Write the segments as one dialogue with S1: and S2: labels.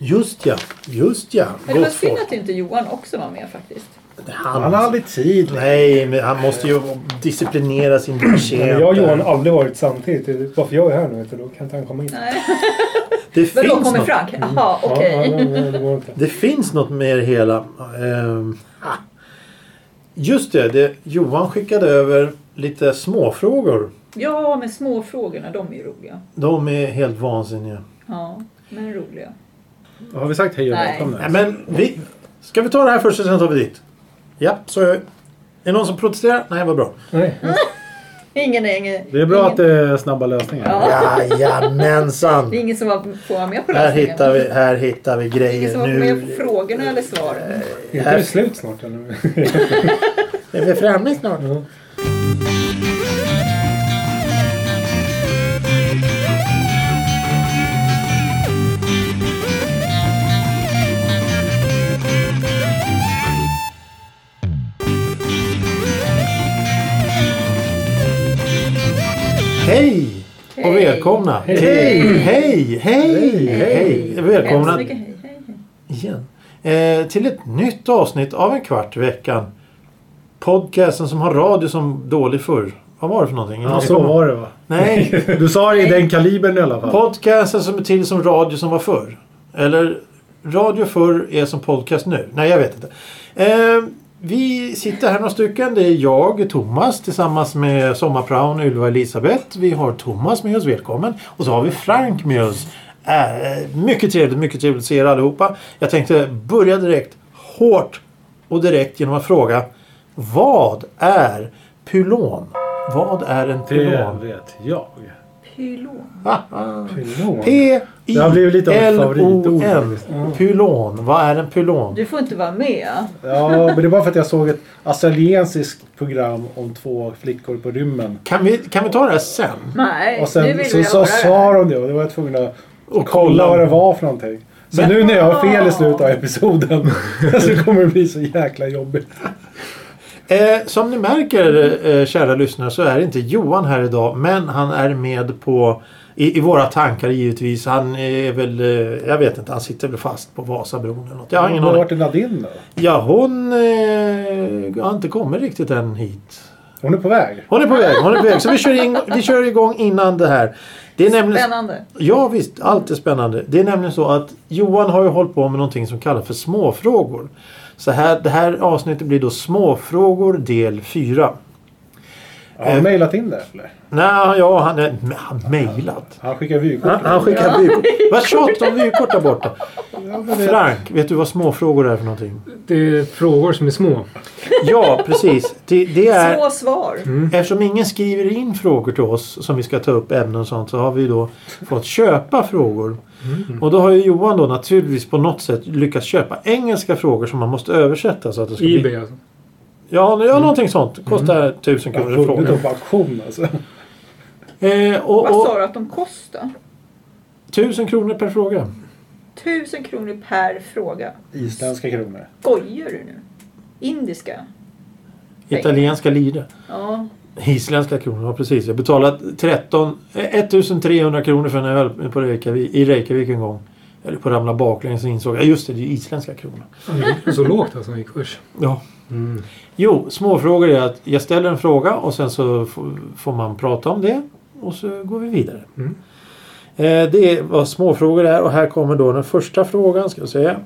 S1: Just ja, just ja.
S2: Men det var
S1: Gott
S2: synd
S1: folk.
S2: att inte Johan också var med faktiskt.
S1: Han,
S3: Han har aldrig tid.
S1: Nej, men han måste ju disciplinera sin
S4: Men jag och Johan
S1: betjänt.
S4: har aldrig varit samtidigt. Det är Bara för jag är här nu vet du, då kan inte han komma in.
S2: Nej.
S1: Det
S2: Men då
S1: finns,
S2: kommer
S1: något,
S2: Frank. Jaha,
S4: Ja,
S2: okej.
S4: ja, nej, nej, det går inte.
S1: det finns något med det hela. Ehm, ah. Just det, det, Johan skickade över lite småfrågor.
S2: Ja, men småfrågorna, de är ju roliga.
S1: De är helt vansinniga.
S2: Ja, men roliga.
S3: Har vi sagt hej och
S2: Nej.
S3: välkomna?
S1: Nej, men vi, ska vi ta det här först och sen tar vi dit? Ja, så är det någon som protesterar? Nej, vad bra.
S4: Nej.
S2: Ingen är ingen.
S3: Det är bra
S2: ingen,
S3: att det är snabba lösningar.
S2: Ja.
S1: Jajamensan!
S2: Det är ingen som var- får vara med på
S1: Här
S2: lösningen.
S1: hittar vi, här hittar vi
S2: Det är ingen som
S1: grejer.
S2: var med på
S1: Nu
S2: frågorna eller svaren.
S4: Är inte det slut snart eller?
S1: är vi framme snart.
S4: Ja.
S1: Hej! Och välkomna!
S4: Hej.
S1: Hej! Hej! Hej!
S3: Hej.
S1: Hej! Välkomna
S2: Hemskt mycket hej, hej, hej.
S1: igen eh, till ett nytt avsnitt av En kvart i veckan. Podcasten som har radio som dålig förr. Vad var det för någonting?
S3: Ja, så var det va?
S1: Nej,
S3: Du sa det i den kalibern i alla fall.
S1: podcasten som är till som radio som var förr. Eller radio förr är som podcast nu. Nej, jag vet inte. Eh, vi sitter här några stycken. Det är jag, Thomas, tillsammans med sommarpraon Ylva och Elisabeth. Vi har Thomas med oss, välkommen. Och så har vi Frank med oss. Eh, mycket trevligt, mycket trevligt att se er allihopa. Jag tänkte börja direkt hårt och direkt genom att fråga Vad är pylon? Vad är en
S3: Det
S1: pylon? Ah,
S3: vet jag.
S2: Pylon.
S4: Pylon.
S3: Det har blivit lite av ett favoritord
S1: P-I-L-O-N.
S3: faktiskt.
S1: Pylon. Vad är en pylon?
S2: Du får inte vara med.
S3: Ja, men det är bara för att jag såg ett australiensiskt program om två flickor på rymmen.
S1: Kan vi, kan vi ta det här sen?
S2: Nej,
S3: Och
S2: nu
S3: sen
S2: vill
S3: så,
S2: vi
S3: så
S2: höra.
S3: sa de det och då var jag tvungen att
S1: Och
S3: kolla vad det var för någonting. Så
S1: Men-
S3: nu när jag har fel i slutet av episoden så kommer det bli så jäkla jobbigt.
S1: Eh, som ni märker, eh, kära lyssnare, så är inte Johan här idag. Men han är med på... I, i våra tankar givetvis. Han är väl... Eh, jag vet inte. Han sitter väl fast på Vasabron eller något. Jag har ingen
S3: Var
S1: aning.
S3: vart är Nadine då?
S1: Ja, hon eh, har inte kommit riktigt än hit.
S3: Hon är på väg.
S1: Hon är på väg. Hon är på väg. Så vi kör, in, vi kör igång innan det här. Det är nämligen...
S2: Spännande.
S1: Ja visst, allt är spännande. Det är nämligen så att Johan har ju hållit på med någonting som kallas för småfrågor. Så här, det här avsnittet blir då småfrågor del 4.
S3: Har
S1: Eh.
S3: han mejlat in det eller?
S1: Nej, ja, han är han mejlat.
S3: Han skickar vykort.
S1: Han, han skickar vykort. Vad tjatar om vykort där borta?
S3: Ja, men det-
S1: Frank, vet du vad småfrågor är för någonting?
S4: Det är frågor som är små.
S1: Ja, precis. Det, det är...
S2: Små svar.
S1: Eftersom ingen skriver in frågor till oss som vi ska ta upp ämnen och sånt så har vi då fått köpa frågor. Och då har ju Johan då naturligtvis på något sätt lyckats köpa engelska frågor som man måste översätta. Så att det ska
S4: Ebay
S1: Bli...
S4: alltså.
S1: Ja, nu- ja, någonting sånt. Kostar tusen
S3: Jag
S1: kronor
S3: har
S1: frågan.
S3: vunnit dem på auktion alltså.
S1: Eh,
S2: Vad
S1: och, och,
S2: sa du att de kostar?
S1: tusen kronor per fråga.
S2: Tusen kronor per fråga.
S3: Isländska kronor.
S2: Skojar du nu? Indiska? Pengar.
S1: Italienska lire.
S2: Ja.
S1: Isländska kronor, ja precis. Jag betalade 13, eh, 1300 kronor för en öl på Reykjavik, i Reykjavik en gång. Eller på att ramla baklänges och insåg jag, just det, det är isländska kronor.
S4: Så lågt alltså i kurs. Mm.
S1: Ja. Jo, småfrågor är att jag ställer en fråga och sen så f- får man prata om det och så går vi vidare.
S4: Mm.
S1: Eh, det är vad småfrågor är och här kommer då den första frågan ska vi se. Eh,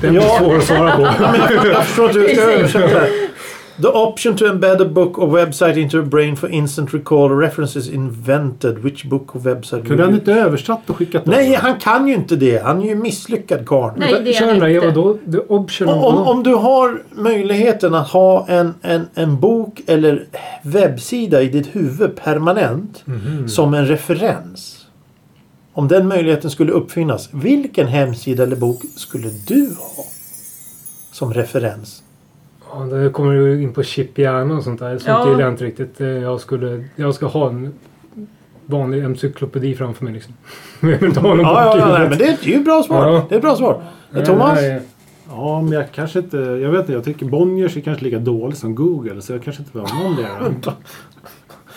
S4: Den är
S1: Ja.
S4: svår att svara på.
S1: jag förstår inte hur jag ska översätta det. The option to embed a book or website into a brain for instant recall or references invented. Which book or website?
S3: Kunde
S1: would
S3: han
S1: you-
S3: inte översatt och skickat den?
S1: Nej, han kan ju inte det. Han är ju misslyckad karl.
S2: Nej, det är
S4: Kör den där
S2: inte.
S4: Eva då. The option
S1: Om, om,
S3: Mm.
S4: of...
S1: om du har möjligheten att ha en, en, en bok eller webbsida i ditt huvud permanent
S4: Mhm.
S3: Mm.
S1: som en referens. Om den möjligheten skulle uppfinnas, vilken hemsida eller bok skulle du ha som referens?
S4: Ja, där kommer du in på chip hjärna och sånt där. Sånt
S2: Ja.
S4: gillar jag inte riktigt. Eh, Jag, skulle, jag ska ha en
S5: vanlig encyklopedi framför mig liksom. Jag vill inte ha någon
S1: Ja,
S5: bok i
S1: ja, nej,
S5: huvudet.
S1: men det är ett- det är ju ett bra svar.
S5: Ja.
S1: Det är ett bra svar. Eh, Thomas?
S5: Nej,
S3: Ja, men jag kanske inte... Jag vet inte, jag tycker Bonniers är kanske lika dålig som Google så jag kanske inte behöver någon där.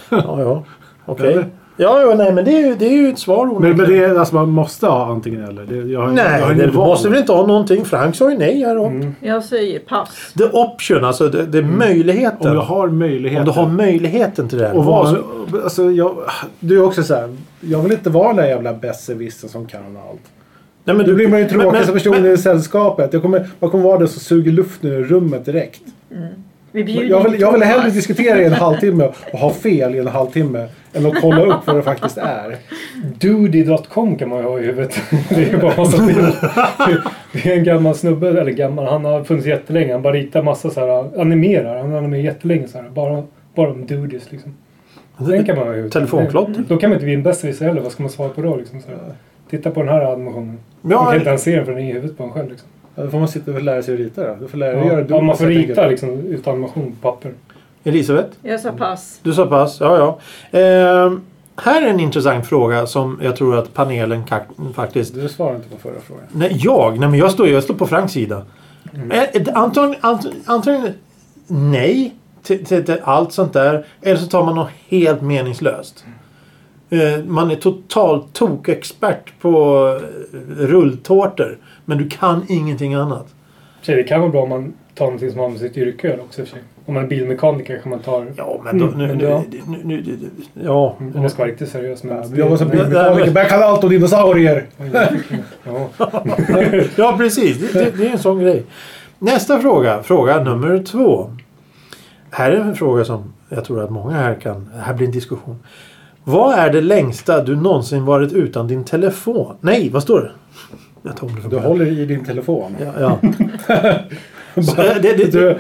S1: Ja, ja. Okej.
S3: Eller?
S1: Ja, ja, nej, men det är ju, det är ju ett svar
S3: Men,
S1: onekligen.
S3: men det är, alltså, man måste ha antingen eller. Det, jag, har- jag har
S1: Nej,
S3: ingen
S1: det
S3: val.
S1: måste väl inte ha någonting. Frank sa ju nej här. Mm.
S2: Jag säger pass.
S1: The option, alltså det, det är möjligheten.
S3: Om jag har möjlighet.
S1: Om du har möjligheten till det här.
S3: och
S1: Vad-
S3: var, alltså, jag, du är också så här. Jag vill inte vara den där jävla besserwissern som kan allt.
S1: nej, men
S3: Då blir man ju den tråkigaste
S1: men-
S3: personen
S1: men-
S3: i sällskapet. Jag kommer, man kommer vara den som suger luft nu i rummet direkt.
S2: Vi bjuder
S3: Jag
S2: in
S3: vill, jag vill
S2: Thomas.
S3: hellre diskutera i en halvtimme och ha fel i en halvtimme än att kolla upp vad det faktiskt är.
S4: Doody.com kan man ju ha i huvudet. Det är ju bara massa filmer. Det är en gammal snubbe, eller gammal, han har funnits jättelänge. Han bara ritar massa så här, animerar. Han animerar jättelänge så här. Bara, bara om doodies liksom. Den kan man ha i huvudet.
S1: Telefonklotter.
S4: Då kan man inte bli en besserwisser heller. Vad ska man svara på då liksom? Så här. Titta på den här animationen. Man
S1: Ja,
S4: kan inte ens se den för den är i huvudet på en själv liksom.
S3: Ja, Då får man sitta och lära sig att rita då. Då får lära sig
S4: Ja,
S3: göra
S4: ja, man får
S3: helt enkelt.
S4: rita liksom ut animation på papper.
S1: Elisabeth,
S2: Jag sa pass.
S1: du sa pass. Ja, ja. Ehm, här är en intressant fråga som jag tror att panelen ka- faktiskt...
S3: Du svarade inte på förra frågan.
S1: Nej, jag? Nej, men jag står, jag står på Franks sida. Eh, Antagligen ant- antagligen nej till, till, till allt sånt där. Eller så tar man något helt meningslöst. Eh, Man är totalt tokexpert på eh, rulltårtor. Men du kan ingenting annat.
S4: I och för sig, Det kan vara bra om man tar någonting som har med sitt yrke att göra också. i och för sig. Om man är bilmekaniker kanske man tar...
S1: Ja, Mm. men då,
S4: Mm,
S1: nu,
S4: men
S1: nu,
S4: ja.
S1: nu, nu, nu, ja.
S4: Om man ska vara riktigt seriös med
S3: Jag var som
S1: Nej, nej,
S3: bilmekaniker.
S1: men-
S3: Börja kalla allt om dinosaurier.
S4: Ja.
S1: Ja, precis. Det, det, det är en sån grej. Nästa fråga. Fråga nummer två. Här är en fråga som jag tror att många här kan... Här blir en diskussion. Vad är det längsta du någonsin varit utan din telefon? Nej, vad står det? Jag tar om det från
S3: Du
S1: början.
S3: håller i din telefon.
S1: Ja, ja. Så, det, det, det,
S3: Du,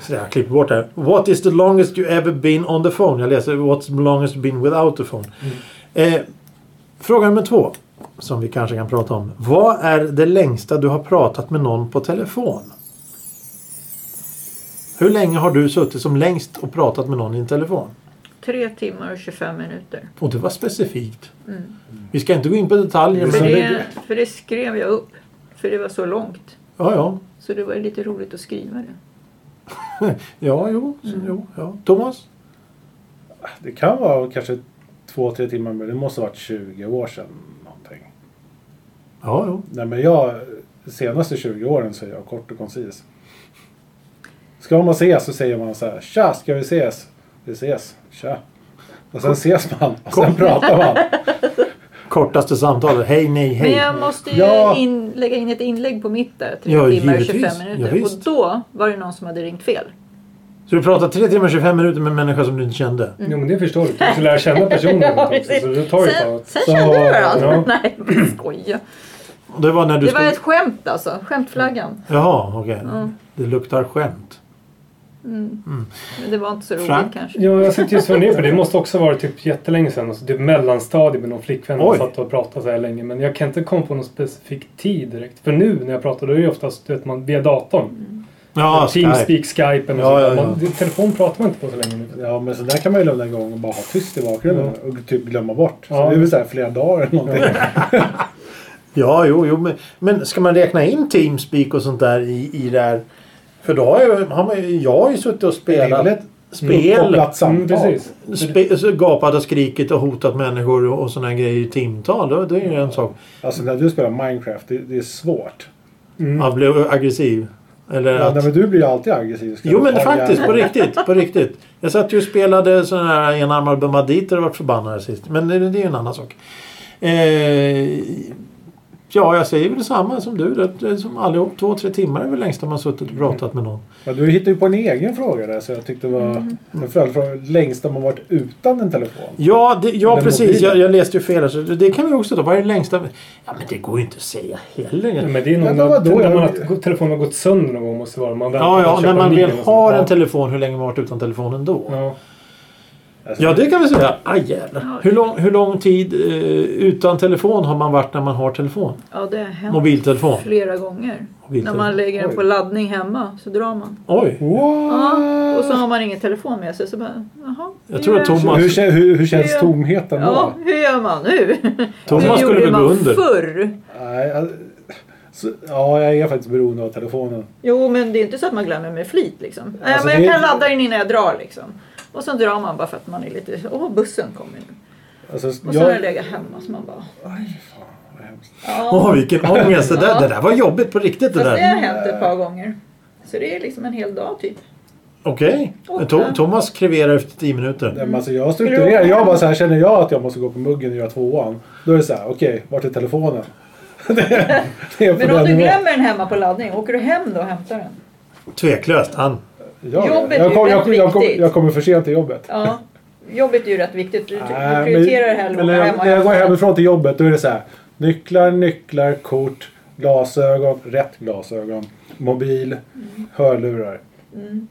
S1: så jag klipper bort det här. What is the longest you ever been on the phone? Jag läser What's the longest been without the phone. Eh, fråga nummer två. Som vi kanske kan prata om. Vad är det längsta du har pratat med någon på telefon? Hur länge har du suttit som längst och pratat med någon i en telefon?
S2: Tre timmar och 25 minuter.
S1: Och det var specifikt. Vi ska inte gå in på detaljer.
S2: För
S1: Men
S2: Mm. det, för det skrev jag upp. För det var så långt.
S1: Ja, ja.
S2: Så det var ju lite roligt att skriva det.
S1: Ja, jo.
S2: Mm.
S1: så- jo ja. Thomas?
S3: det kan vara kanske två, tre timmar men det måste ha varit 20 år sedan någonting.
S1: Ja, jo.
S3: Nej men jag, de senaste 20 åren så är jag kort och koncis. Ska man ses så säger man så här, tja ska vi ses? Vi ses, tja. Och sen ses man och sen pratar man.
S1: Kortaste samtalet. Hej, nej, hej.
S2: Men jag måste ju
S3: Ja.
S2: in, lägga in ett inlägg på mitt där. Tre
S1: Ja,
S2: timmar och
S1: givetvis.
S2: 25
S1: Ja,
S2: minuter. och
S1: visst.
S2: då var det någon som hade ringt fel.
S1: Så du pratade 3 timmar och 25 minuter med en människa som du inte kände?
S4: Jo men det förstår du. Du måste lära känna personen
S2: Ja,
S4: också.
S2: precis.
S4: Så det tar ju ett
S2: sen
S4: tag.
S2: sen
S3: Så-
S2: kände du varandra?
S4: ja.
S2: Nej, jag skojar.
S1: Och Det var när du
S2: Det var
S1: stod-
S2: ett skämt alltså. Skämtflaggan.
S1: Jaha, okej.
S2: Mm.
S1: Det luktar skämt.
S2: Men det var inte så roligt
S1: Frank?
S2: kanske.
S4: Ja, jag sitter just och funderar på det. Det måste också vara typ jättelänge sedan. Alltså, typ mellanstadiet med någon flickvän.
S1: Oj.
S4: Och satt och pratade så här länge. Men jag kan inte komma på någon specifik tid direkt. För nu när jag pratar då är det ju oftast du vet, man, via datorn.
S1: Ja, Ah, Skype.
S4: Teamspeak, Skype eller
S1: Ja,
S4: ja,
S1: ja, ja.
S4: ja, Telefon pratar man inte på så länge nu. Mm,
S3: Ja men så där kan man ju lämna igång och bara ha tyst i bakgrunden
S1: Mm.
S3: och typ glömma bort. Så
S4: Ja.
S3: det är väl så här flera dagar eller någonting.
S1: Ja, jo, jo. Men, men ska man räkna in Teamspeak och sånt där i, i det här? För då har jag, har man, jag har ju suttit och
S3: Det är väl
S1: spelat
S3: ett
S1: spel.
S3: uppkopplat samtal.
S4: Mm, precis.
S1: Spe, så gapat och skrikit och hotat människor och, och såna här grejer i timtal. Det, det är ju en sak.
S3: Alltså när du spelar Minecraft, det, det är svårt.
S1: Att bli aggressiv. Eller
S3: Mm. Ja,
S1: att...
S3: nej, men du blir ju alltid aggressiv. Ska
S1: Jo
S3: du
S1: men
S3: ta
S1: faktiskt, på
S3: järn?
S1: riktigt, på riktigt. Jag satt ju och spelade sådana här enarmade banditer och vart förbannad sist. Men det, det är ju en annan sak. Eh, ja, jag säger väl detsamma som du. Det, det, är som allihop, två, tre timmar är väl längst man suttit och pratat med någon.
S3: Ja, du hittade ju på en egen fråga där så jag tyckte det var
S2: Mhm.
S3: en följdfråga. Längst har man varit utan en telefon?
S1: Ja, det, ja
S3: Eller
S1: precis.
S3: mobilen.
S1: Jag, jag läste ju fel. här, Så det, det kan vi också ta. Vad är det längsta? Ja, men det går ju inte att säga
S4: Ja,
S1: heller.
S4: men det är nog
S3: Men
S4: när,
S3: vadå?
S4: när man
S3: Jag-
S4: har, telefonen har gått sönder någon gång måste det vara. Man väntar
S1: Ja,
S4: på att
S1: ja,
S4: köpa
S1: när man
S4: ny
S1: väl
S4: eller något
S1: har en
S4: sånt.
S1: telefon, hur länge har man varit utan telefonen då?
S4: Ja.
S3: Alltså,
S1: Ja, det kan vi säga. Aj, jävlar. Hur lång, hur lång tid eh, utan telefon har man varit när man har telefon?
S2: Ja, det har hänt
S1: Mobiltelefon.
S2: flera gånger. När
S1: Mobiltelefon.
S2: man lägger den på
S3: Oj.
S2: laddning hemma så drar man.
S1: Oj.
S3: What? Ah.
S2: Ja, och så har man ingen telefon med sig så bara, jaha.
S1: Jag tror att
S2: Hur-
S1: Thomas...
S3: Hur, kä- hur, hur känns
S2: Ja.
S3: tomheten
S2: Ja,
S3: då?
S2: hur gör man nu?
S1: Thomas
S2: hur
S1: skulle
S2: gjorde
S1: väl
S2: man
S1: gå under.
S2: förr?
S3: Nej, jag- så, ja, jag är faktiskt beroende av telefonen.
S2: Jo, men det är inte så att man glömmer med flit liksom. Nej,
S3: Alltså,
S2: men
S3: det
S2: jag
S3: är-
S2: kan ladda den innan jag drar liksom. Och så drar man bara för att man är lite... Åh, bussen kommer nu.
S3: Alltså,
S2: Och så har jag
S3: jag,
S2: legat hemma så man bara...
S3: vad hemskt.
S2: Ja,
S1: Åh, vilken ångest! Det där, det där var jobbigt på riktigt det
S2: fast det
S1: där.
S2: har hänt ett par gånger. Så det är liksom en hel dag typ.
S1: Okej.
S2: Åh,
S1: To-
S2: ja.
S1: Thomas kreverar efter tio minuter.
S3: Nej, men alltså,
S2: Mm.
S3: jag strukturerar. Jag bara så här, känner jag att jag måste gå på muggen och göra tvåan. Då är det så här, okej, vart är telefonen? det, det är på
S2: Men
S3: den
S2: om du
S3: nivån.
S2: glömmer den hemma på laddning, åker du hem då och hämtar den?
S1: Tveklöst. Han.
S3: Ja,
S2: Jobbet är
S3: jag, kom,
S2: ju
S3: jag, kom, jag, kom,
S2: viktigt.
S3: jag kommer för sent till jobbet.
S2: Ja, jobbet är ju rätt viktigt. Du, du
S3: Nej,
S2: prioriterar hellre att
S3: men när
S2: åka hem
S3: jag,
S2: och
S3: när jag går
S2: hämta den.
S3: hemifrån till jobbet då är det så här. Nycklar, nycklar, kort, glasögon, rätt glasögon, mobil,
S2: Mm.
S3: hörlurar.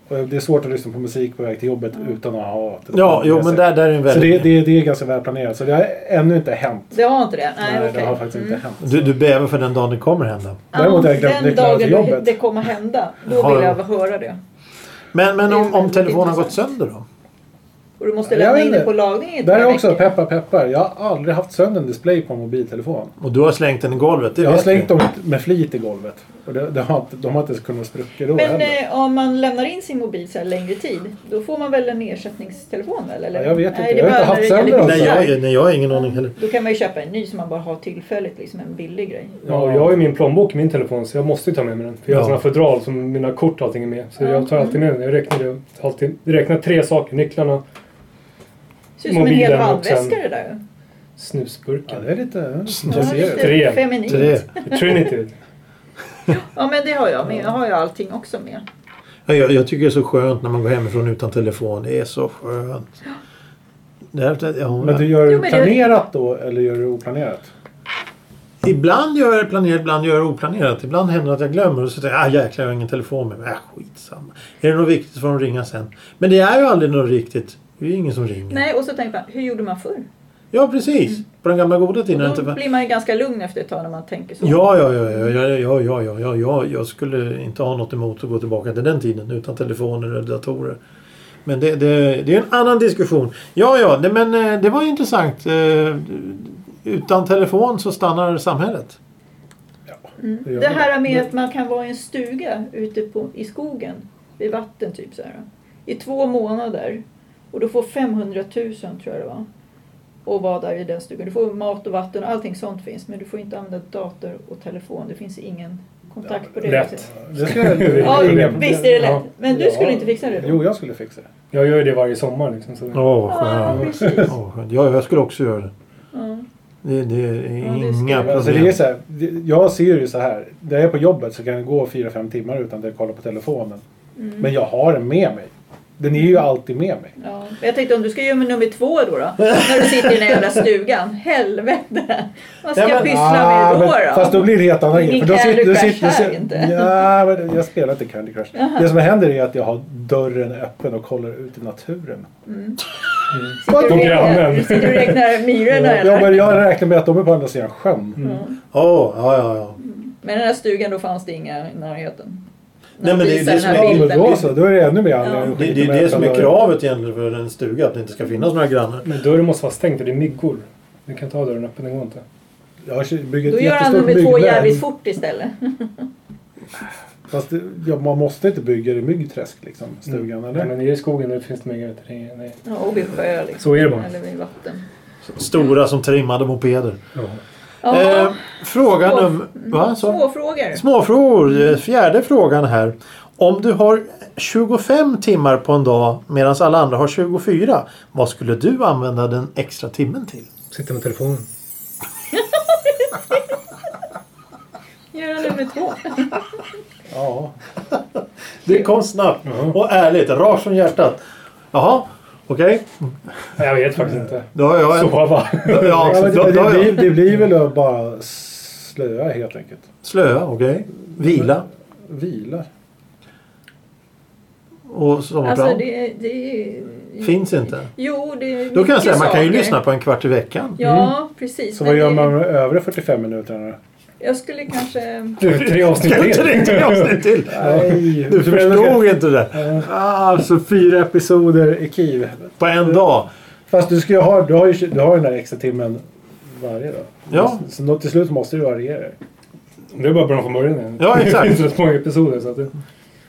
S3: Och det är svårt att lyssna på musik på väg till jobbet utan att ha telefonen
S1: Ja, jo
S3: med sig.
S1: men där, där är en
S3: Så det,
S1: väldigt...
S3: det, det är ganska välplanerat. Så det har ännu inte hänt.
S2: Det har inte det? Nej, okej. Mm.
S3: det har faktiskt inte hänt.
S1: Du, du bävar för den dagen det kommer hända.
S3: Däremot har jag glömt
S2: Den
S3: nycklarna
S2: dagen
S3: till
S2: det,
S3: jobbet.
S2: det kommer hända, då
S1: Har-
S2: vill jag höra det.
S1: Men, men
S2: Det är
S1: om, om
S2: väldigt
S1: telefonen har gått
S2: intressant.
S1: sönder då?
S2: Och du måste
S3: Jag
S2: lämna
S3: vet
S2: in det
S3: inte.
S2: på lagning i ett
S3: Där
S2: par
S3: är också,
S2: veckor.
S3: peppar peppar, jag har aldrig haft sönder en display på en mobiltelefon.
S1: Och du har slängt den i golvet? Det
S3: Jag har
S1: vet
S3: slängt
S1: vi.
S3: dem med flit i golvet. Och det, det har inte, de har inte ens kunnat sprucka då
S2: Men
S3: heller.
S2: eh, om man lämnar in sin mobil så här längre tid, då får man väl en ersättningstelefon väl, eller?
S3: Ja, jag vet
S2: Nej,
S3: inte.
S2: det
S3: Jag har
S2: är
S3: inte
S2: bara
S3: haft
S2: när det
S3: sämre alltså.
S2: gäller
S3: än
S1: Nej,
S2: bilar.
S1: jag, nej, jag har ingen aning heller.
S2: Då kan man ju köpa en ny som man bara har tillfälligt, liksom en billig grej.
S4: Ja, och jag har ju min plånbok i min telefon så jag måste ju ta med mig den. För jag har
S1: Ja.
S4: sådana fodral som mina kort och allting är med. Så jag tar alltid med den. Jag räknar, jag tar alltid, jag räknar tre saker. Nycklarna,
S2: Det ser ut som en hel
S4: Mobilen och
S2: handväska
S4: sen-
S2: det där ju.
S3: Ja,
S4: snusburken.
S3: det är lite...
S2: Ja,
S3: Jag ser
S2: lite
S3: det.
S4: Tre.
S2: feminint.
S1: Så det,
S4: Trinity.
S2: Ja men det har jag med. Jag har ju allting också med.
S1: Ja, jag, jag tycker det är så skönt när man går hemifrån utan telefon. Det är så skönt. Det här, ja,
S3: Men du gör
S2: Jo, men
S3: det
S2: det-
S3: planerat då eller gör du det oplanerat?
S1: Ibland gör jag det planerat, ibland gör jag det oplanerat. Ibland händer det att jag glömmer och så tänker jag ah, jäklar jag har ingen telefon med mig. Ah, skitsamma. Är det något viktigt så får de ringa sen. Men det är ju aldrig något riktigt. Det är ju ingen som ringer.
S2: Nej och så tänkte man, hur gjorde man förr?
S1: Ja precis. På den gamla goda tiden.
S2: Och
S1: inte
S2: då
S1: var-
S2: blir man ju ganska lugn efter ett tag när man tänker så.
S1: Ja, ja, ja, ja, ja, ja, ja, ja, ja, ja, jag skulle inte ha något emot att gå tillbaka till den tiden utan telefoner eller datorer. Men det, det, det är en annan diskussion. Ja, ja, det, men eh, det var ju intressant. Eh, Utan telefon så stannar samhället.
S3: Det gör
S2: Det
S3: du.
S2: här med att man kan vara i en stuga ute på, i skogen, vid vatten typ så här. I två månader. Och du får 500 000 tror jag det var. Och vara där i den stugan. Du får mat och vatten och allting sånt finns. Men du får inte använda dator och telefon. Det finns ingen kontakt på det
S4: Lätt.
S2: viset.
S3: Det ska jag...
S2: Ja,
S4: Inga
S3: inga
S4: problem.
S2: visst är det lätt.
S4: Ja.
S2: Men du
S3: Ja.
S2: skulle inte fixa det då?
S3: Jo, jag skulle fixa det.
S4: Jag gör ju det varje sommar liksom. Så.
S1: Åh, vad
S2: Ja,
S1: skönt.
S2: precis.
S1: Åh, vad skönt. Ja, jag skulle också göra det.
S2: Ja.
S1: Det, det är
S2: det är
S1: inga
S2: skräp.
S3: Alltså, det är
S1: problem.
S3: så här, det- jag ser ju så här. När jag är på jobbet så kan jag gå 4-5 timmar utan att jag kollar på telefonen.
S2: Mm.
S3: Men jag har den med mig. Den är ju alltid med mig.
S2: Ja. Men Jag tänkte om du ska göra med nummer två då, då när du sitter i den här jävla stugan. Helvete! Vad ska
S1: Ja,
S2: jag
S1: men-
S2: pyssla med då?
S3: Ah, men,
S2: då?
S3: Fast då blir det helt annan
S2: Ingen
S3: grej. för då
S2: Candy
S3: sitter- då
S2: Crush
S3: sitter- då
S2: här
S3: sitter-
S2: inte.
S3: Ja, men jag spelar inte Candy Crush. Det som händer är att jag har dörren öppen och kollar ut i naturen.
S2: sitter du och
S4: på
S2: räknar,
S4: grannen.
S2: du sitter och räknar myrorna
S3: Ja, men
S2: eller?
S3: jag räknar med att de är på andra sidan sjön.
S1: Åh, ja, ja, ja.
S2: Men i den här stugan då fanns det inga i närheten.
S1: Nej, men det-
S2: Visar
S1: det
S2: den
S1: som-
S2: här
S3: Ja, men
S2: bilden.
S3: då så. Då är det ännu mer anledning att
S1: Det, det
S3: skita
S1: är
S3: med
S1: det som är
S3: öppna
S1: kravet egentligen för en stuga, att det inte ska finnas några grannar.
S4: Men dörren måste vara stängd och det är myggor. Du kan ta dörren öppen, den går inte. Mm.
S3: dörrar. Jag bygger
S2: Då
S3: ett
S2: gör han
S3: jättestort
S2: nummer två
S3: byggnät.
S2: jävligt fort istället.
S3: Fast det, ja, man måste inte bygga det i myggträsk liksom,
S2: Mm.
S3: stugan
S4: Nej,
S3: eller?
S4: men i skogen där finns det myggor. vet du. Det är- det är-
S2: Ja, och vid sjö liksom.
S4: Så är det bara.
S2: Eller vid
S1: Eh,
S2: vatten.
S1: Stora som trimmade mopeder.
S2: Ja,
S1: Eh, frågan
S2: Små-
S1: om... Va, så?
S2: två frågor.
S1: Småfrågor, eh, fjärde frågan här. Om du har 25 timmar på en dag medan alla andra har 24. Vad skulle du använda den extra timmen till?
S5: Sitter med telefonen.
S2: Gör han nummer två.
S3: Ja.
S1: Det kom snabbt och ärligt, rakt från hjärtat. Jaha, okej.
S4: Nej, Jag vet faktiskt inte.
S1: Då har jag en...
S4: Sova.
S1: Ja,
S3: Ja, men
S1: då,
S3: det,
S1: då
S3: det,
S1: har
S3: blir,
S1: jag...
S3: det blir väl att bara slöa helt enkelt.
S1: Slöa, okej. Vila
S3: Vila.
S1: och
S2: Alltså
S1: sommarprat.
S2: det, det är...
S1: Finns inte.
S2: Jo, det är
S1: Då kan jag
S2: mycket
S1: säga man kan ju Mm.
S2: saker.
S1: lyssna på en kvart i veckan.
S2: Ja, precis.
S3: Så
S2: men
S3: vad gör
S2: det-
S3: man med de övriga 45 minuterna?
S2: Jag skulle kanske...
S4: Det är tre avsnitt
S1: Kan inte det tre avsnitt till?
S3: Nej,
S1: Du förstod inte det.
S3: Alltså fyra episoder i Kiev.
S1: På en dag.
S3: Fast du, ska ju ha, du, har ju, du har ju den där extra timmen varje dag.
S1: Ja.
S3: Så då, till slut måste du variera dig.
S4: Det är bara bra från början. igen.
S1: Ja, exakt.
S4: Det finns rätt många episoder. Så att det...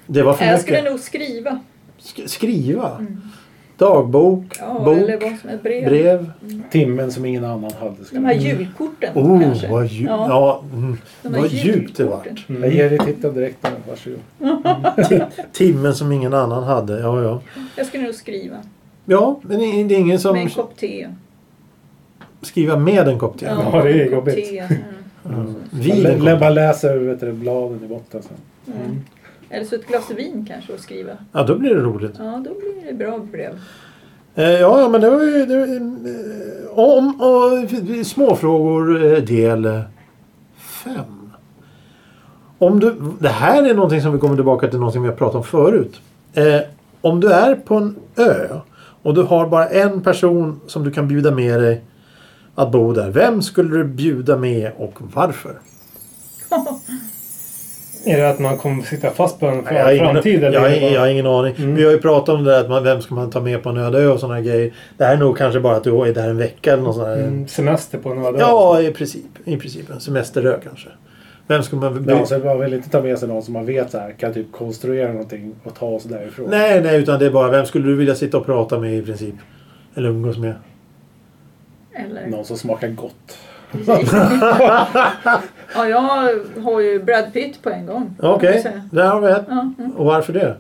S1: Det var
S2: Nej,
S1: för
S2: Jag skulle
S1: mycket.
S2: nog skriva.
S1: Sk- skriva. Dagbok.
S2: Ja,
S1: Bok.
S2: eller vad som är brev.
S1: Brev.
S3: Timmen som ingen annan hade. Ska.
S2: De här julkorten kanske.
S1: Oh, vad, dju-
S2: Ja.
S1: ja. mm.
S2: De här
S1: vad djupt det
S2: julkorten.
S1: vart.
S4: Mm.
S3: Jag ger dig titeln direkt. nu, Varsågod.
S1: Timmen som ingen annan hade. Ja, ja.
S2: Jag skulle nog skriva.
S1: Ja, men det det är ingen
S2: Med
S1: som
S2: en kopp te.
S1: skriver med en kopp te.
S4: Ja, det är
S2: en kopp
S4: jobbigt.
S2: te. Mm.
S1: Vid en
S3: Lä-
S1: kopp.
S3: Bara läser vet du, bladen i botten sen.
S2: Mm. Eller så ett glas vin kanske och skriva.
S1: Ja, då blir det roligt.
S2: Ja, då blir det bra brev.
S1: Eh, Ja, ja, men det var ju... Det var, ju- eh, om och, småfrågor eh, del 5. Om du, det här är någonting som vi kommer tillbaka till någonting vi har pratat om förut. Eh, om du är på en ö och du har bara en person som du kan bjuda med dig att bo där. Vem skulle du bjuda med och varför?
S4: Är det att man kommer sitta fast på en
S1: Nej, jag, har ingen,
S4: framtid?
S1: jag,
S4: eller
S1: har,
S4: är det bara- Mm.
S1: jag har ingen aning. Vi har ju pratat om det där att man, vem ska man ta med på en öde ö och sådana grejer. Det här är nog kanske bara att du är där en vecka eller något sånt där.
S4: Mm, semester på en öde ö.
S1: Ja, i princip. I princip. En semesterö kanske. Vem ska man...
S3: Men alltså, man vill inte ta med sig någon som man vet så här, kan typ konstruera någonting och ta oss därifrån.
S1: Nej, nej, utan det är bara vem skulle du vilja sitta och prata med i princip? Eller umgås med?
S2: Eller?
S3: Någon som smakar gott.
S2: Precis. ja, jag har ju Brad Pitt på en gång. kan
S1: Okej,
S2: jag säga.
S1: där har vi ett.
S2: Ja, mm.
S1: Och varför det?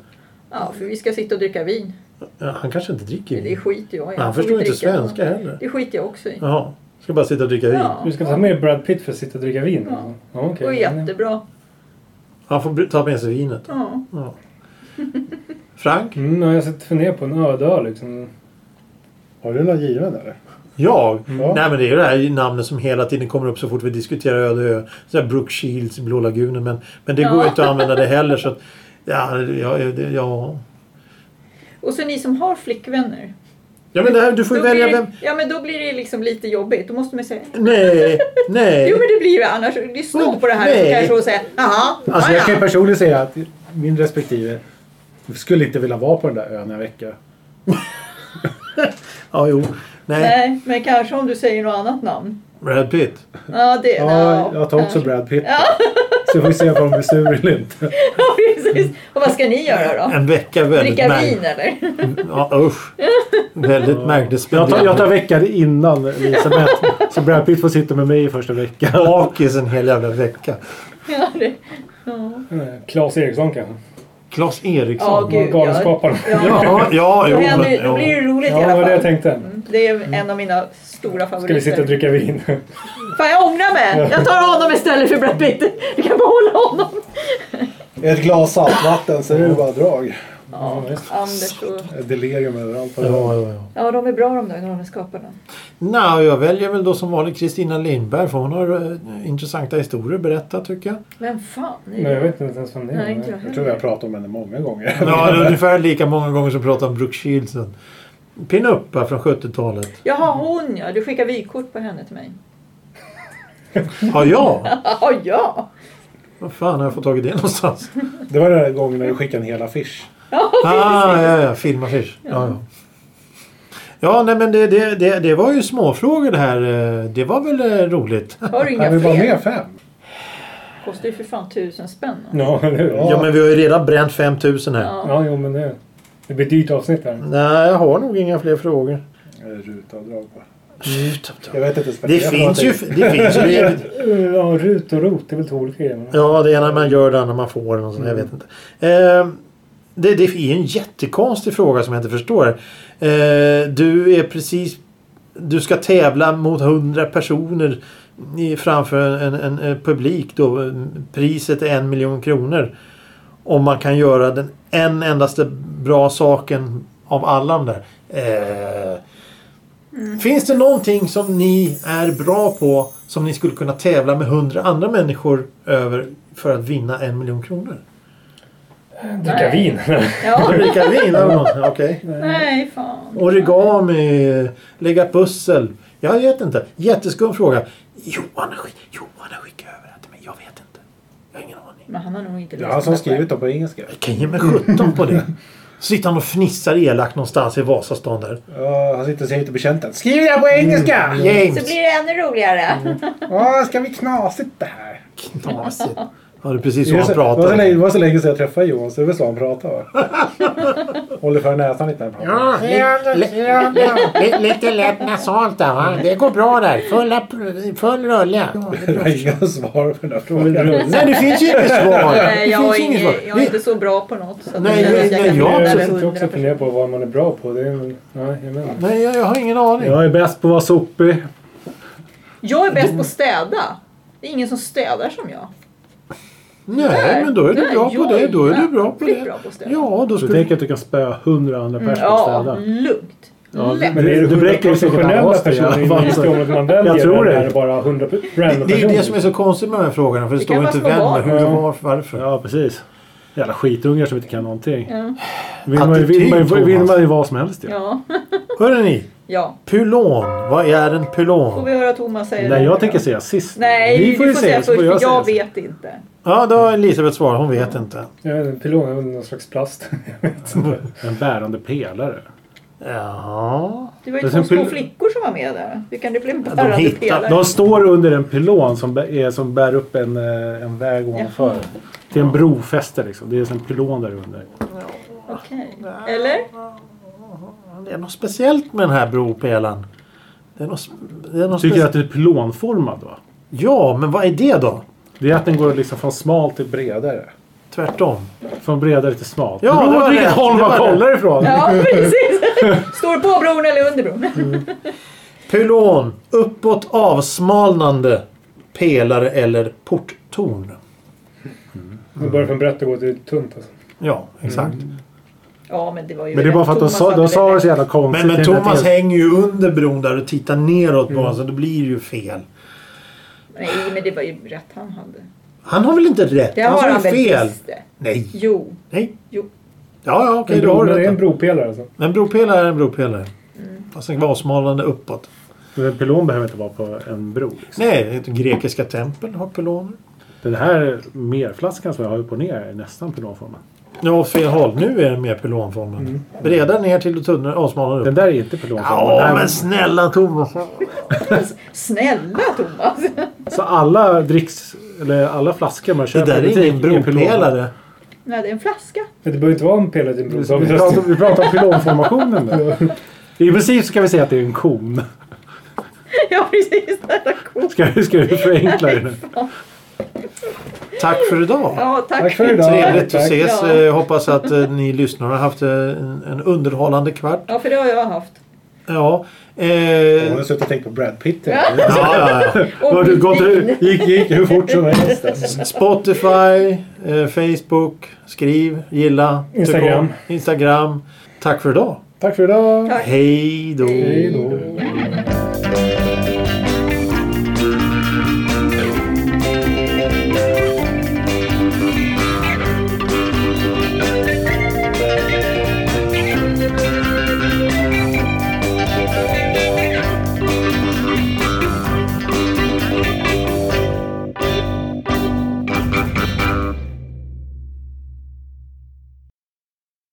S2: ja, för vi ska sitta och dricka vin.
S1: Ja, han kanske inte dricker
S2: Det
S1: vin.
S2: skiter jag i.
S1: Han
S2: Jag får
S1: förstår inte
S2: dricka.
S1: svenska heller.
S2: Det skiter jag också i.
S1: Jaha. Ska bara sitta och dricka vin.
S2: Ja.
S4: Du ska ta med Brad Pitt för att sitta och dricka vin?
S2: Ja.
S4: Ja, okej.
S2: Det går jättebra.
S1: Han får bry- ta med sig vinet.
S2: Ja.
S1: Ja. Frank?
S4: Mm, ja, jag sitter ner på en öde ö liksom.
S3: Har du någon given eller?
S1: Jag?
S3: Ja.
S1: Nej men det är ju det här namnet som hela tiden kommer upp så fort vi diskuterar öde ö. Så här Brooke Shields i Blå lagunen. Men, men det går
S2: Ja.
S1: ju inte att använda det heller så att, ja, ja, det- ja.
S2: Och så ni som har flickvänner.
S1: ja men det här, du får ju
S2: Då blir
S1: välja
S2: det-
S1: vem...
S2: Ja, men då blir det liksom lite jobbigt. Då måste man säga...
S1: Nej, nej.
S2: Jo, men det blir ju annars. Lyssna på det här
S1: Nej.
S2: så kanske hon säger jaha,
S3: Alltså jag
S2: Ah, ja,
S3: kan ju
S2: ja.
S3: personligen säga att min respektive skulle inte vilja vara på den där ön en vecka.
S1: Ja, jo. Nej.
S2: Nej, men kanske om du säger något annat namn.
S1: Brad Pitt.
S2: Ja, det...
S3: Ja, jag tar också
S2: kanske.
S3: Brad Pitt.
S2: Ja,
S3: Så får vi se om de blir sur eller inte.
S2: precis. Och vad ska ni göra då?
S1: En vecka väldigt
S2: Dricka
S1: märk-
S2: vin eller?
S1: Ja, usch. Väldigt märkligt
S3: Jag tar, jag tar
S1: spenderande.
S3: veckan innan Elisabeth. Så Brad Pitt får sitta med mig i första veckan.
S1: Bakis en hel jävla vecka.
S2: Ja, det... Ja,
S4: eh, Claes Eriksson kanske?
S1: Klas Eriksson.
S2: Ja, gud. ja.
S4: Galenskaparen.
S2: Ja.
S1: Ja, ja,
S2: Då,
S1: jo.
S2: händer,
S1: Men,
S2: då blir
S1: ja.
S2: det roligt i
S4: Ja, det
S2: alla
S4: var det jag
S2: fall. Mm,
S4: tänkte.
S2: Det är en av mina stora
S4: Ska
S2: favoriter.
S4: vi sitta och dricka vin?
S2: Fan, jag ångrar mig! Jag tar honom istället för Brad Pitt. Du kan behålla honom.
S3: Ett glas saltvatten så är det bara drag.
S2: Ja, Anders och...
S3: Ett Delirium överallt. på den
S1: Ja,
S3: här.
S1: ja, ja.
S2: Ja, de är bra de där galenskaparna.
S1: Nej, jag väljer väl då som vanligt Kristina Lindberg för hon har eh, intressanta historier att berätta tycker jag.
S2: Vem fan är
S4: Nej, jag
S2: det?
S4: vet inte ens vem det är.
S2: Nej, inte jag
S3: Jag tror vi har
S2: heller.
S3: pratat om henne många gånger.
S1: Ja, det är ungefär lika många gånger som pratar om Brooke Shields. Pinuppa från 70-talet.
S2: Jaha, hon ja. Du skickar vykort på henne till mig.
S1: Har jag?
S2: Ja, ja!
S1: Vad fan har jag fått tag i det någonstans?
S3: Det var den där gången när du skickade en hel affisch.
S1: Ah, ja, ja, filmaffisch. Ja, ja. ja nej, men det, det, det, det var ju småfrågor det här. eh, Det var väl eh, roligt.
S2: Har du
S3: Kan
S2: inga
S3: vi vara
S2: fler?
S3: med fem?
S2: Kostar ju för fan tusen spänn. va?
S4: Ja, eller hur?
S1: Ja, men vi har ju redan bränt 5000 här.
S2: Ja.
S4: Ja, jo, men det, det blir ett dyrt avsnitt här.
S1: Nej, jag har nog inga fler frågor.
S3: Eller Rutavdrag på.
S1: Shit,
S3: Jag vet inte.
S1: Det
S3: jag
S1: finns ju...
S3: pratar-
S1: Det finns ju
S4: Eh, Ja, RUT och ROT är väl två olika grejer? men-
S1: ja, det ena man gör, det andra man får. Eller något sånt, Jag vet inte. Eh, det, det är en jättekonstig fråga som jag inte förstår. Eh, du är precis... Du ska tävla mot 100 personer i, framför en, en, en publik. Då. Priset är en miljon kronor. Om man kan göra den en endaste bra saken av alla de där. Eh, Finns det någonting som ni är bra på som ni skulle kunna tävla med 100 andra människor över för att vinna en miljon kronor?
S4: Dricka
S2: Nej.
S4: vin?
S2: Ja.
S1: Dricka vin eller något? Okej.
S2: Nej, fan.
S1: Origami, lägga pussel, Jag vet inte. Jätteskum fråga. Johan, har skick- Johan har skickat över det här till mig. Jag vet inte. Jag har ingen aning.
S2: Men han har nog inte
S3: Det är han som
S2: det själv.
S3: skrivit dem på engelska.
S1: Jag kan ge mig sjutton på det. Sitter han och fnissar elakt någonstans i Vasastan där.
S3: Ja, han sitter och säger till betjänten. Skriv det här på
S1: Mm.
S3: engelska!
S2: Så
S1: James!
S2: blir det ännu roligare.
S1: Mm.
S3: Åh, ska vi knasigt det här?
S1: Knasigt. Var det precis så
S3: Det var
S1: han
S3: så- det var så länge- det
S1: pratade?
S3: var så länge sedan jag träffade Johan så det är väl så han pratar va? Håller för näsan lite när han pratar.
S1: Lite lätt nasalt där va? Det går bra där. Fulla, full rulle.
S3: Jag har inga svar på den här frågan.
S1: Nej det finns ju inget svar. Det
S2: Nej, jag,
S1: finns
S2: har
S1: ju inget
S2: inget, jag är inte
S1: svar.
S2: så bra på något. Så att
S1: Nej,
S2: jag,
S1: nej,
S2: jag,
S1: nej,
S2: kan
S1: jag
S2: inte
S1: har
S4: Jag
S2: göra
S4: sitter också och
S2: 100%.
S4: funderar på vad man är bra på. Det är, väl- nej, jag vet inte.
S1: Nej jag jag har ingen aning.
S5: Jag är bäst på att vara sopig.
S2: Jag är bäst på att städa. Det är ingen som städar som jag.
S1: Nej men då är du
S2: Där,
S1: bra på
S2: jag
S1: det.
S2: är
S1: Då är du bra på
S2: jävligt bra
S1: det.
S2: på att städa. Mm.
S1: Ja då
S6: Så
S1: skulle
S6: tänk att du kan spöa hundra
S4: Mm.
S6: andra personer på att
S2: Ja,
S6: städa.
S2: lugnt. Lätt.
S5: Men det är
S6: Du bräcker ju säkert alla
S4: professionella
S6: oss det,
S4: personer
S6: ja.
S4: inom yrkesområdet man väljer.
S6: Jag tror
S4: men
S6: det.
S4: är bara 100 random
S1: Det är ju
S4: personer.
S1: det som är så konstigt med de här frågorna. För det,
S2: Det
S1: står
S2: kan
S1: inte
S2: vara små
S1: vem, hur,
S4: barn.
S1: var, varför.
S6: Ja, precis. Jävla skitungar som inte kan någonting.
S2: Ja.
S6: Vill, man, ju- vill, man, ju-
S1: Attityd,
S6: vill
S1: Thomas.
S6: man ju vad som helst ju.
S2: Ja,
S1: Hörrni,
S2: ja.
S1: pulon. Vad är en
S2: Får
S1: pulon?
S2: vi höra Thomas säga
S6: Nej,
S2: det?
S6: jag tänker säga sist.
S2: Nej,
S6: Ni
S2: du får, säga
S6: så får
S2: först. för Jag,
S6: säga sist.
S2: vet inte.
S1: Ja, då har Elisabeth svarat. Hon vet inte.
S4: Jag vet inte, Pylon är väl någon slags plast.
S6: En bärande pelare.
S1: Jaha.
S2: Det var
S6: Men
S2: ju två
S6: sen
S2: små
S6: pil-
S2: flickor som var med där. Hur kan det bli en bärande
S1: hittar-
S2: pelare?
S6: De står under en pylon som, bä- är, som bär upp en, eh, en väg ovanför. Till en brofäste liksom. Det är en pylon där under.
S2: Okej. Eller?
S1: Det är något speciellt med den här bropelaren. Det är något, sp- det är något
S6: Tycker
S1: speci-
S6: jag att det är pylonformad va?
S1: Ja, men vad är det då?
S6: Det är att den går liksom från smal till bredare.
S1: Tvärtom.
S6: Från bredare till smalt.
S1: Ja,
S6: Ja, Beroende på
S1: det var
S6: vilket
S1: rätt.
S6: håll
S1: Det var
S6: man
S1: rätt.
S6: kollar ifrån.
S2: Ja, precis. Står på bron eller under bron?
S1: Pylon. Uppåt avsmalnande pelare eller porttorn.
S4: Det börjar från brett och går till tunt alltså.
S1: Ja, exakt.
S2: Ja, men det var ju
S6: Men det är bara för att de
S2: Thomas
S6: sa,
S2: hade
S6: de
S2: väl
S6: sa det
S2: rätt.
S6: så jävla konstigt.
S1: Men, men
S6: hela
S1: Thomas
S6: tiden.
S1: hänger ju under bron där och tittar neråt på honom så det blir ju fel.
S2: Nej, men det var ju rätt han hade.
S1: Han har väl inte rätt?
S2: Det
S1: han
S2: har
S1: sa
S2: han
S1: ju
S2: väl
S1: fel.
S2: visst det.
S1: Nej.
S2: Jo.
S1: Nej.
S2: Jo.
S1: Ja, ja, okej. Då
S4: En bro,
S1: har
S4: men
S1: du
S4: det är en
S1: rätt.
S4: bropelare alltså.
S1: En bropelare är en bropelare.
S2: Mm.
S1: Fast den var avsmalnande uppåt.
S6: Men en pylon behöver inte vara på en bro. Liksom.
S1: Nej, ett grekiska tempel har pyloner.
S6: Den här merflaskan som jag har upp och ner är nästan pylonformad.
S1: Ja, åt fel håll. Nu är den mer pylonformad. Bredare ner till och tunnare, avsmalnare upp.
S6: Den där är inte pylonformad. Den
S1: Ja,
S6: här-
S1: men snälla Thomas.
S2: Snälla Thomas.
S6: Så alla dricks, eller alla flaskor man
S1: Det
S6: köper
S1: där
S6: i
S1: är
S6: butik
S1: ingen bropelare.
S2: Nej, det är en flaska.
S4: Men Det behöver inte vara en pelare till en bro. sa vi
S6: Vi
S4: förresten.
S6: pratar, vi pratar om pylonformationen nu. I princip så kan vi säga att det är en kon.
S2: Ja, precis. Detta kort.
S6: Ska, vi- ska vi förenkla det nu?
S1: Tack för idag.
S2: Ja, tack.
S4: Tack för idag.
S1: Trevligt att
S4: Tack.
S1: ses.
S2: Ja.
S1: Eh, Jag hoppas att eh, ni lyssnare har haft eh, en en underhållande kvart.
S2: Ja, för det har jag haft.
S1: Ja. Eh,
S3: Hon har
S1: ja,
S3: suttit och tänkt på Brad Pitt.
S1: ja, ja.
S2: Och
S6: Har du gått
S2: vin.
S6: ut? Gick, gick hur fort som helst.
S1: Spotify, eh, Facebook, skriv, gilla, tyck om,
S4: Instagram.
S1: Instagram. Tack för idag.
S6: Tack för idag.
S2: Tack.
S1: Hej då.
S4: Hej då.